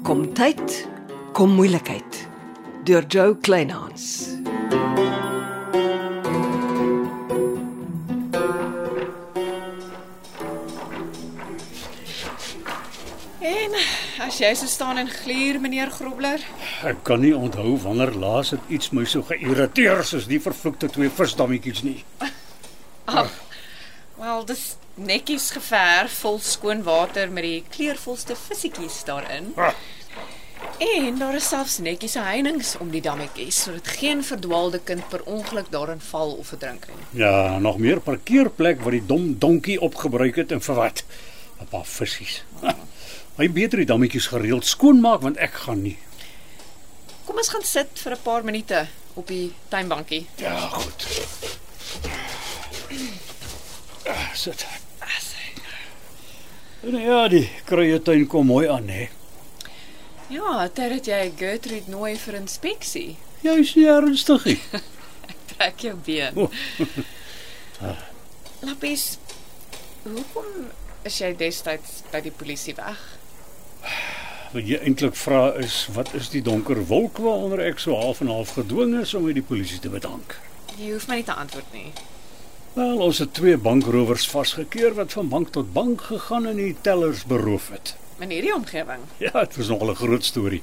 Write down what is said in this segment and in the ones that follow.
Gesondheid kom moeilikheid deur Joe Kleinhans. En as jy so staan en gluur, meneer Grobler, Ek kan nie onthou wanneer laas het iets my so geïrriteer soos die vervloekte twee visdammetjies nie. wel dis netjies geverf vol skoon water met die kleurvolste vissetjies daarin. Ah, En daar is selfs netjies heininge om die dammetjies sodat geen verdwaalde kind per ongeluk daarin val of verdrink nie. Ja, nog meer parkeerplek wat die dom donkie opgebruik het en vir wat? 'n Paar visse. Hy beter die dammetjies gereeld skoonmaak want ek gaan nie. Kom ons gaan sit vir 'n paar minute op die tuinbankie. Ja, goed. Ah, sit. Nou ja, die kruietuin kom mooi aan, hè. Ja, ter het jy Gertrude nooi vir inspeksie. Jy's nie ernstig nie. Trek jou been. Ah. O. Lappies, hoekom is jy destyds by die polisie weg? Wat jy eintlik vra is, wat is die donker wolk waaronder ek so half en half gedwing is om uit die polisie te bedank? Jy hoef my nie te antwoord nie. Wel, ons het twee bankrowers vasgekeer wat van bank tot bank gegaan en die tellers beroof het. In hierdie omgewing. Ja, dit was nogal 'n groot storie.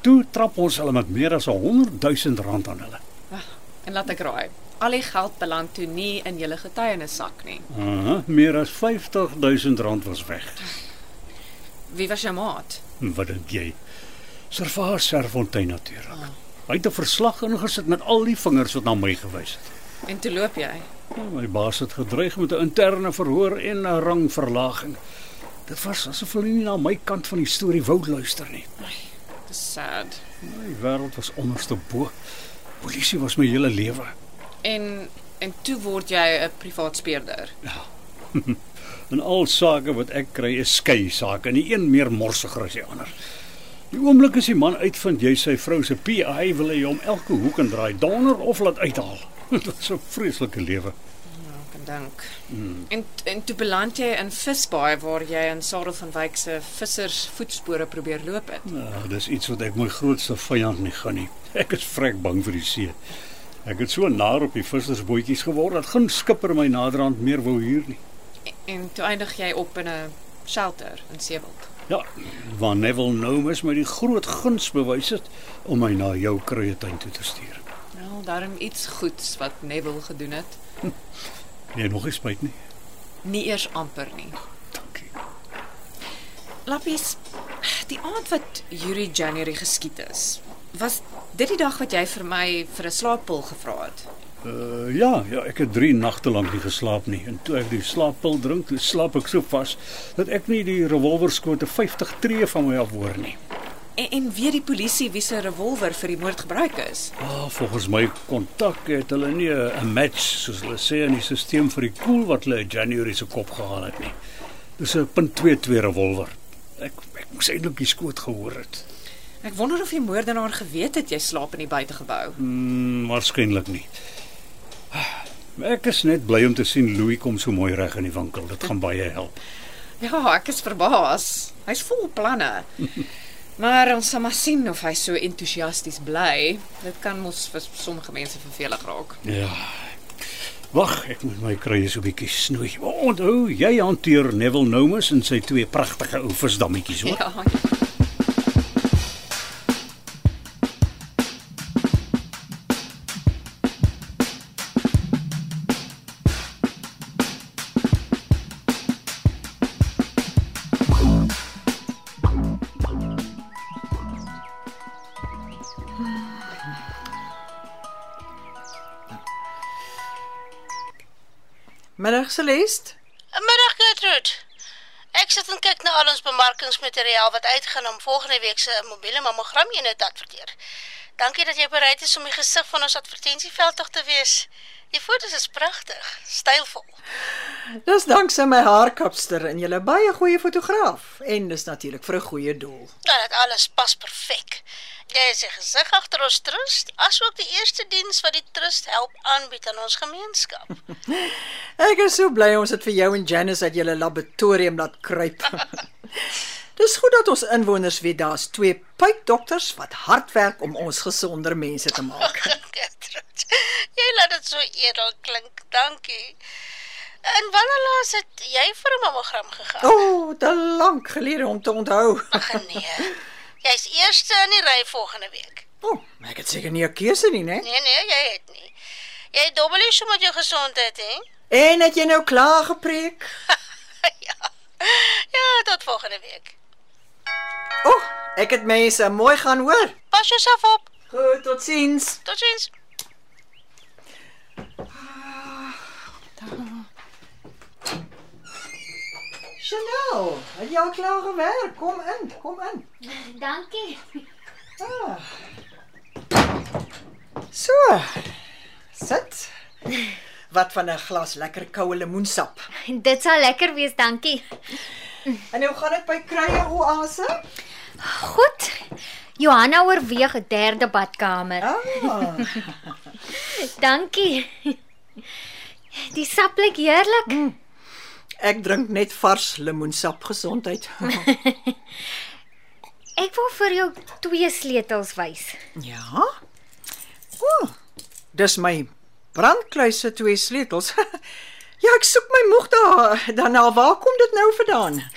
Toe trap ons hulle met meer as 100 000 rand aan hulle. En laat ek raai. Al die geld beland toe nie in julle getuienissak nie. Aha, meer as 50 000 rand was weg. Wie was jou maat? Wat dink jy? Servaar Serfontein natuurlik. Hy het 'n verslag ingesit met al die vingers wat na my gewys het. En toe loop jy. Ja, My baas het gedreig met 'n interne verhoor en 'n rangverlaging. Dit was asof hulle nie na my kant van die storie wou luister nie. Dis sad. My wêreld was onderste bo. Polisie was my hele lewe. En en toe word jy 'n privaat speurder. Ja, En al sake wat ek kry is skei sake, en die een meer morsiger as die ander. Die oomblik as die man uitvind jy sy vrou se PI wil hy hom elke hoek en draai donder of laat uithaal. Dit was 'n vreeslike lewe. Nou, ek kan dink. Mm. En en toe beland jy in Visbaai waar jy in Sarel van Wyk se vissers voetspore probeer loop het. Ja, dis iets wat ek my grootste vyand nie gaan nie. Ek is vrek bang vir die see. Ek het so naar op die vissersbootjies geword dat geen skipper my naderhand meer wou huur nie. En, en toe eindig jy op in 'n shelter in Seewald. Ja, van Neville Nomus met die groot guns bewys het om my na jou kruietuin toe te stuur. Nou, daarom iets goeds wat Neville gedoen het. Nee, nog nie spyt nie. Nie eers amper nie. Dankie. Lappies, die aand wat Yuri January geskiet is, was dit die dag wat jy vir my vir 'n slaappil gevra het. Uh ja, ja, ek het 3 nagte lank nie geslaap nie en toe ek die slaappil drink, toe slaap ek so vas dat ek nie die revolverskote 50 tree van my af hoor nie. En en weet die polisie wie se revolver vir die moord gebruik is? Ah, volgens my kontak het hulle nie 'n 'n match soos hulle sê in die stelsel vir die koel wat hulle in Januarie se kop gehaal het nie. Dis 'n .22 revolver. Ek ek moes eintlik die skoot gehoor het. Ek wonder of die moordenaar geweet het jy slaap in die buitegebou. Mm, waarskynlik nie. Ah, Ek is net bly om te sien Louis kom so mooi reg in die winkel. Dit gaan baie help. Ja, ek is verbaas. Hy's vol planne. Maar ons sal maar sien of hy so entoesiasties bly. Dit kan mos vir sommige mense vervelig raak. Ja. Wag, ek moet my kruie so 'n bietjie snoei. Onthou, jy hanteer Neville Nomus en sy twee pragtige ou visdammetjies, hoor? Ja, Middag Celeste. Middag Gertrude. Ek sit en kyk na al ons bemarkingsmateriaal wat uitgaan om volgende week se mobiele mammogram eenheid te adverteer. Dankie dat jy bereid is om die gesig van ons advertensieveld tog te wees. Die foto's is pragtig, stylvol. Dis dankse my haarkapster en jy 'n baie goeie fotograaf en dis natuurlik vir 'n goeie doel. Nou, dit alles pas perfek. Jy is die gesig agter ons trust, asook die eerste diens wat die trust help aanbied aan ons gemeenskap. Ek is so bly ons het vir jou en Janice uit julle laboratorium laat kruip. Dis goed dat ons inwoners weet daar's twee pypdokters wat hard werk om ons gesonder mense te maak. Gertrude. Jy laat dit so edel klink. Dankie. En wanneer laas het jy vir 'n mammogram gegaan? O, oh, te lank gelede om te onthou. Ag nee. Jy's eerste in die ry eh, volgende week. O, oh, ek het seker nie 'n keuse nie, né? Nee nee, jy het nie. Jy dobbel is met jou gesondheid, hè? En het jy nou klaar gepreek? ja. Ja, tot volgende week. O, oh, ek het mense mooi gaan hoor. Pas jouself op. Goed, totsiens. Totsiens. Chanel, het jy al klaar gewerk? Kom in, kom in. Dankie. Ah. So. Sit. Wat van 'n glas lekker koue lemoensap. Dit sal lekker wees, dankie. En hoe gaan dit by Kruie Oase? Goed. Johanna oorweeg 'n derde badkamer. Ah. Dankie. Die sap lyk heerlik. Ek drink net vars lemoensap gesondheid. Ek wil vir jou twee sleutels wys. ja. O. Oh, dis my brandkluis se twee sleutels. ja, ek soek my moeg daar. Daarna, waar kom dit nou vandaan?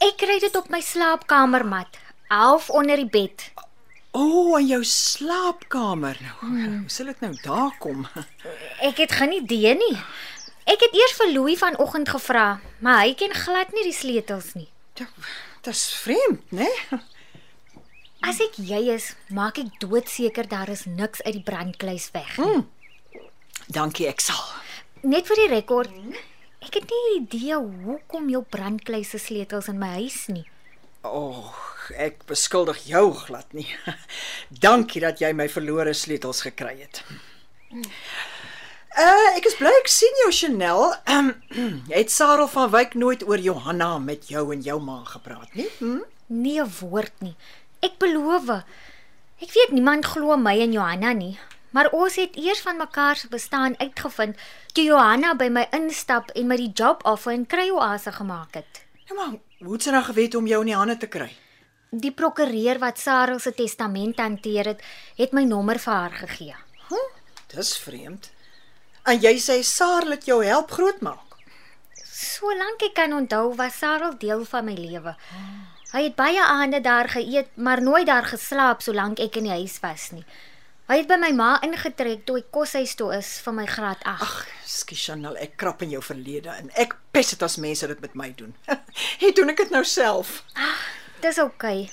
Ek kry dit op my slaapkamermat, half onder die bed. O, oh, in jou slaapkamer nou. Hoe sal dit nou daar kom? Ek het geen idee nie. Ek het eers vir Louis vanoggend gevra, maar hy ken glad nie die sleutels nie. Ja, Dis vreemd, né? Nee? As ek jy is, maak ek doodseker daar is niks uit die brandkluis weg. Dankie, ek sal. Net vir die rekord. Ek het nie idee hoekom jou brandkluis se sleutels in my huis nie. O, oh, ek beskuldig jou glad nie. Dankie dat jy my verlore sleutels gekry het. Hmm. Uh, ek is bly ek sien jou Chanel. Ehm het Sarel van Wyk nooit oor Johanna met jou en jou ma gepraat nie? Hm? Nee 'n woord nie. Ek beloof. Ek weet niemand glo my en Johanna nie, maar ons het eers van mekaar se bestaan uitgevind toe Johanna by my instap en my die job offer in Kryoase gemaak het. Nou maar, hoe het sy nou geweet om jou in die hande te kry? Die prokureur wat Sarah se testament hanteer het, het my nommer vir haar gegee. Huh? Dis vreemd. En jy sê Sarel het jou help grootmaak. Solank ek kan onthou, was Sarah deel van my lewe. Hy het baie aande daar geëet, maar nooit daar geslaap solank ek in die huis was nie. Hy het by my ma ingetrek toe ek koshuis toe is vir my graad 8. Ach, Ag, skus Chanel, ek krap in jou verlede en ek pes dit as mense dit met my doen. Het doen ek dit nou self. Dis oukei. Okay.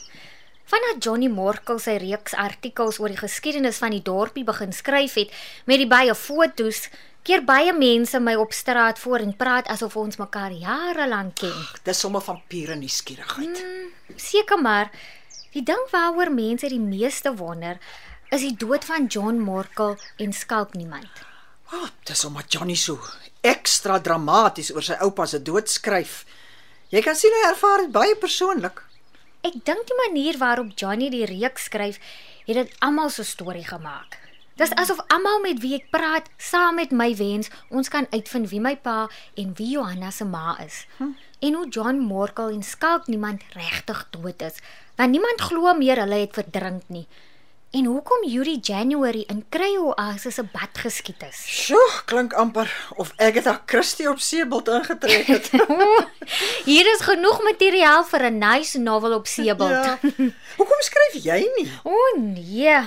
Vanaf Johnny Morkel sy reeks artikels oor die geskiedenis van die dorpie begin skryf het met die baie fotos, keer baie mense my op straat voor en praat asof ons mekaar jare lank ken. Dis sommer van pure nuuskierigheid. Seker maar, die ding waaroor mense die meeste wonder, is die dood van John Morkel en skalk niemand. O, oh, dis omdat Johnny so ekstra dramaties oor sy oupa se dood skryf. Jy kan sien hy ervaar dit baie persoonlik. Ek dink die manier waarop Johnny die reeks skryf, het dit almal so storie gemaak. Dis asof almal met wie ek praat, saam met my wens, ons kan uitvind wie my pa en wie Johanna se ma is. En hoe John Morkel en skalk niemand regtig dood is, want niemand glo meer hulle het verdrink nie. En hoekom Yuri January in Kryoase se bad geskiet is. Sjoe, klink amper of ek het haar Christie op seebult ingetrek het. Ja. Hier is genoeg materiaal vir 'n nice novel op seebult. ja. Hoekom skryf jy nie? O oh, nee,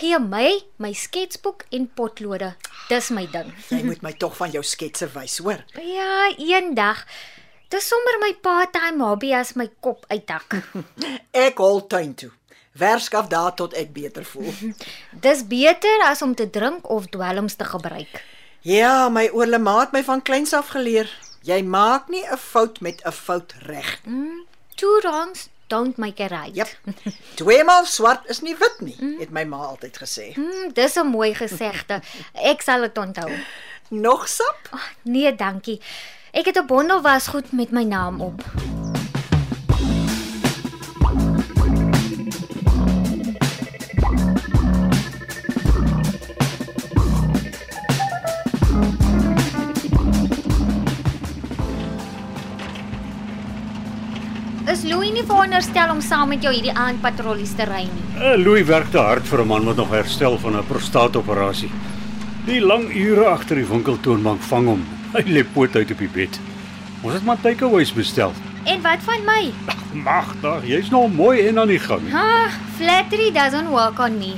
gee my my sketsboek en potlode. Dis my ding. Jy moet my tog van jou sketse wys, hoor. Ja, eendag. Dis sommer my part-time hobby as my kop uitdak. Ek hol tuin toe. Werk af daar tot ek beter voel. Dis beter as om te drink of dwelms te gebruik. ja, my oorlemaat my van kleins af geleer. Jy maak nie 'n fout met 'n fout reg. nie. Two wrongs don't make a right. Jep. Tweemaal swart is nie wit nie, het my ma altyd gesê. Mm, dis 'n mooi gesegde. Ek sal dit onthou. Nog sap? Nee, dankie. Ek het 'n bondel wasgoed met my naam op. Is Louie nie veronderstel om saam met jou hierdie aandpatrollies te ry nie? Eh, Louis werk te hard vir 'n man wat nog herstel van 'n prostaatoperasie. Die lang ure agter die winkeltoonbank vang hom. Hy lê poot uit op die bed. Ons het maar takeaways bestel. En wat van my? Magdag, jy's nou mooi en aan die gang. Ha, Ah, flattery doesn't work on me.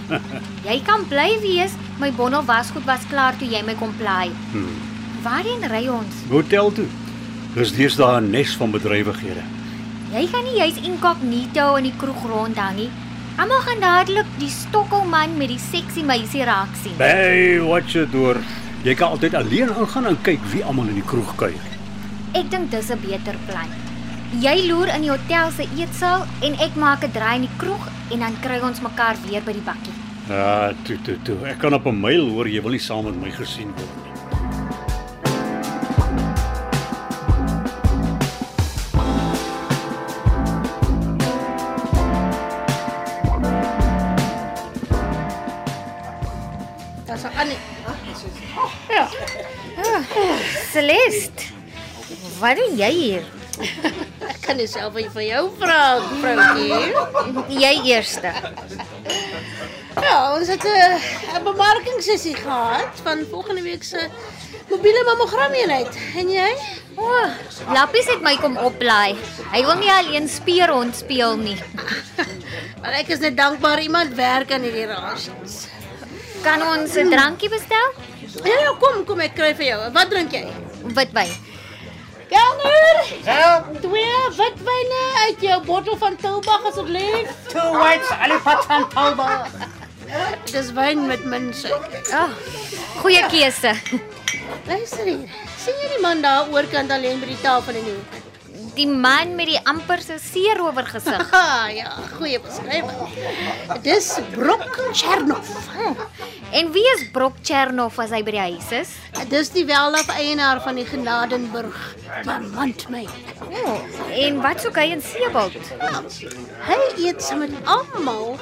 jy kan bly wees, my bondel wasgoed was klaar toe jy my kom plaai. Hmm. Waarheen ry ons? Hotel toe. Dis deesdae 'n nes van bedrywighede. Jy gaan nie juis incognito in die kroeg rondhang nie. Almal gaan dadelik die stokkelman met die seksie meisie raak sien. Hey, wat jy deur. Jy kan altyd alleen aangaan en kyk wie almal in die kroeg kuier. Ek dink dis 'n beter plan. Jy loer in die hotel se eetsaal en ek maak 'n draai in die kroeg en dan kry ons mekaar weer by die bakkie. Ah, toe toe toe. Ek kan op 'n myl hoor jy wil nie saam met my gesien word nie. Daar's 'n ander Ja. Celeste, er wat doen jy hier? ek kan dit self vir jou vra, vroutjie. Jy eerste. Ja, ons het 'n 'n bemarkingssessie gehad van volgende week se mobiele mammogrameenheid. En jy? O, oh, Lappies het my kom oplaai. Hy wil nie alleen speerhond speel nie. Maar ek is net dankbaar iemand werk aan hierdie rasies. Kan ons 'n drankie bestel? Ja, ja, kom, kom ek kry vir jou. Wat drink jy? Witwyn. Kelner! Help! Twee witwyne uit jou bottel van Tilbag asseblief. Two whites, alipat van Talba. Dis wyn met minsuiker. Ag, oh, goeie keuse. Luister hier. sien jy die man daar oorkant alleen by die tafel in die hoek? Die man met die amper se seerower gesig. Ha, ja, goeie beskrywing. Dis Brok Chernoff. En wie is Brok Chernoff as hy by die huis is? Dis die welaf eienaar van die Genadenburg. Maar want my, O, oh, en wat soek hy in Seebald? hy eet saam met almal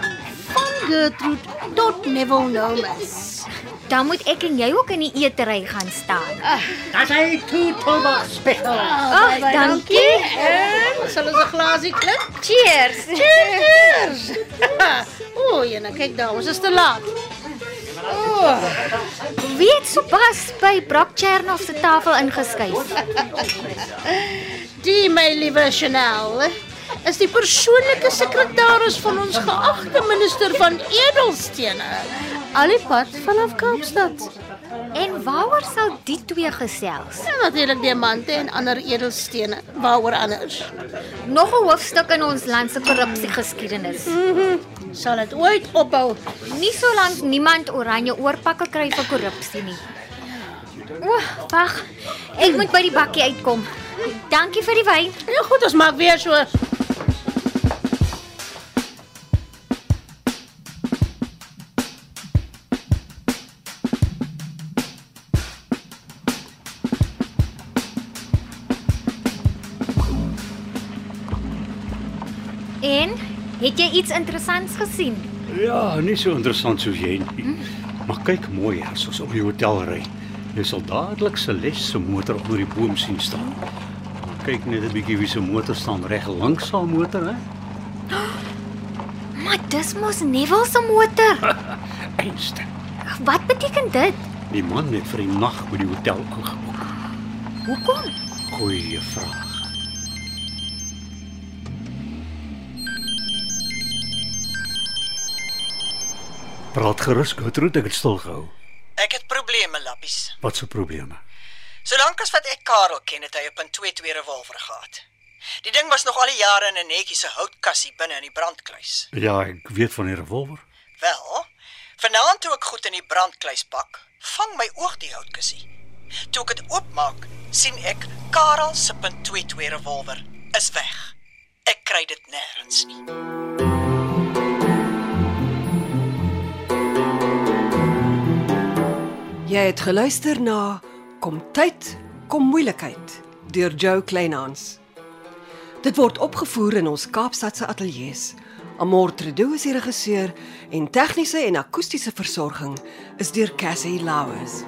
van Gertrude tot Neville Nomas. Dan moet ek en jy ook in die eetery gaan staan. Daar's hy two Talba special. Ah, Ag, oh, dankie. En sal ons 'n glasie klink? Cheers. Cheers. o, jene, kyk nou, daar, ons is te laat. Oh, Wie het sopas by Brok Chernoff se tafel ingeskuif? Die my liewe Chanel is die persoonlike sekretaris van ons geagte minister van edelstene. Alipad vanaf Kaapstad. En waaroor sal die twee gesels? En natuurlik diamante en ander edelstene, waaroor anders? Nog 'n hoofstuk in ons land se korrupsie geskiedenis. Sal dit ooit ophou? Nie solank niemand oranje oorpakke kry vir korrupsie nie. O, wag. Ek moet by die bakkie uitkom. Dankie vir die wyn. Ja goed, ons maak weer so En het jy iets interessants gesien? Ja, nie so interessant soos jy nie. Maar kyk mooi as ons op die hotel ry. Jy sal dadelik Celeste se motor onder die boom sien staan. Kyk net 'n bietjie wie se motor staan reg langs haar motor, hè? Maar dis mos Neville se motor. Einste. Wat beteken dit? Die man het vir die nag by die hotel ingeboek. Hoekom? Goeie vraag. Praat gerus, Gertrude, ek het stil gehou. Ek het probleme, lappies. Wat se probleme? Solank as wat ek Karel ken, het hy op 'n 22 revolver gehad. Die ding was nog al die jare in 'n netjie se houtkassie binne in die brandkluis. Ja, ek weet van die revolver. Wel, vanaand toe ek goed in die brandkluis pak, vang my oog die houtkassie. Toe ek dit oopmaak, sien ek Karel se .22 revolver is weg. Ek kry dit nêrens nie. Jy het geluister na Kom tyd, kom moeilikheid deur Jo Kleinhans. Dit word opgevoer in ons Kaapstadse ateljee se. Amortredo is die regisseur en tegniese en akoestiese versorging is deur Cassie Lauers.